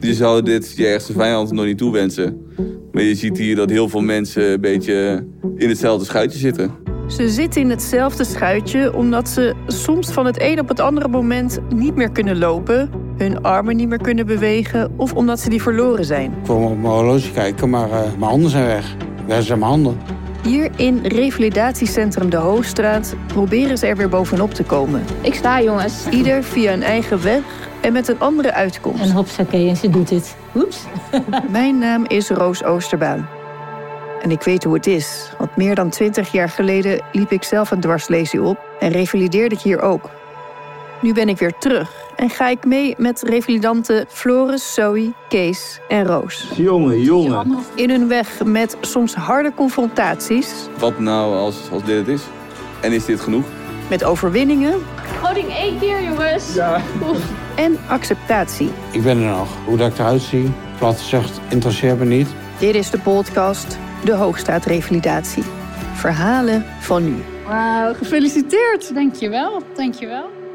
Je zou dit je ergste vijand nog niet toewensen. Maar je ziet hier dat heel veel mensen een beetje in hetzelfde schuitje zitten. Ze zitten in hetzelfde schuitje omdat ze soms van het een op het andere moment niet meer kunnen lopen, hun armen niet meer kunnen bewegen of omdat ze die verloren zijn. Ik kwam op mijn horloge kijken, maar eh, mijn handen zijn weg. Waar zijn mijn handen? Hier in revalidatiecentrum De Hoogstraat proberen ze er weer bovenop te komen. Ik sta, jongens. Ieder via een eigen weg en met een andere En uitkomst. hopsakee, en ze doet het. Oeps. Mijn naam is Roos Oosterbaan. En ik weet hoe het is, want meer dan twintig jaar geleden liep ik zelf een dwarslesie op en revalideerde ik hier ook. Nu ben ik weer terug en ga ik mee met revalidanten Floris, Zoe, Kees en Roos. Jongen, jongen. In hun weg met soms harde confrontaties, Wat nou als, als dit het is? En is dit genoeg? met overwinningen Houding één keer, jongens. en acceptatie. Ik ben er nog. Hoe dat ik eruit zie, plat gezegd, interesseert me niet. Dit is de podcast De Hoogstaat Revalidatie. Verhalen van nu. Wauw, gefeliciteerd. Dankjewel, dankjewel.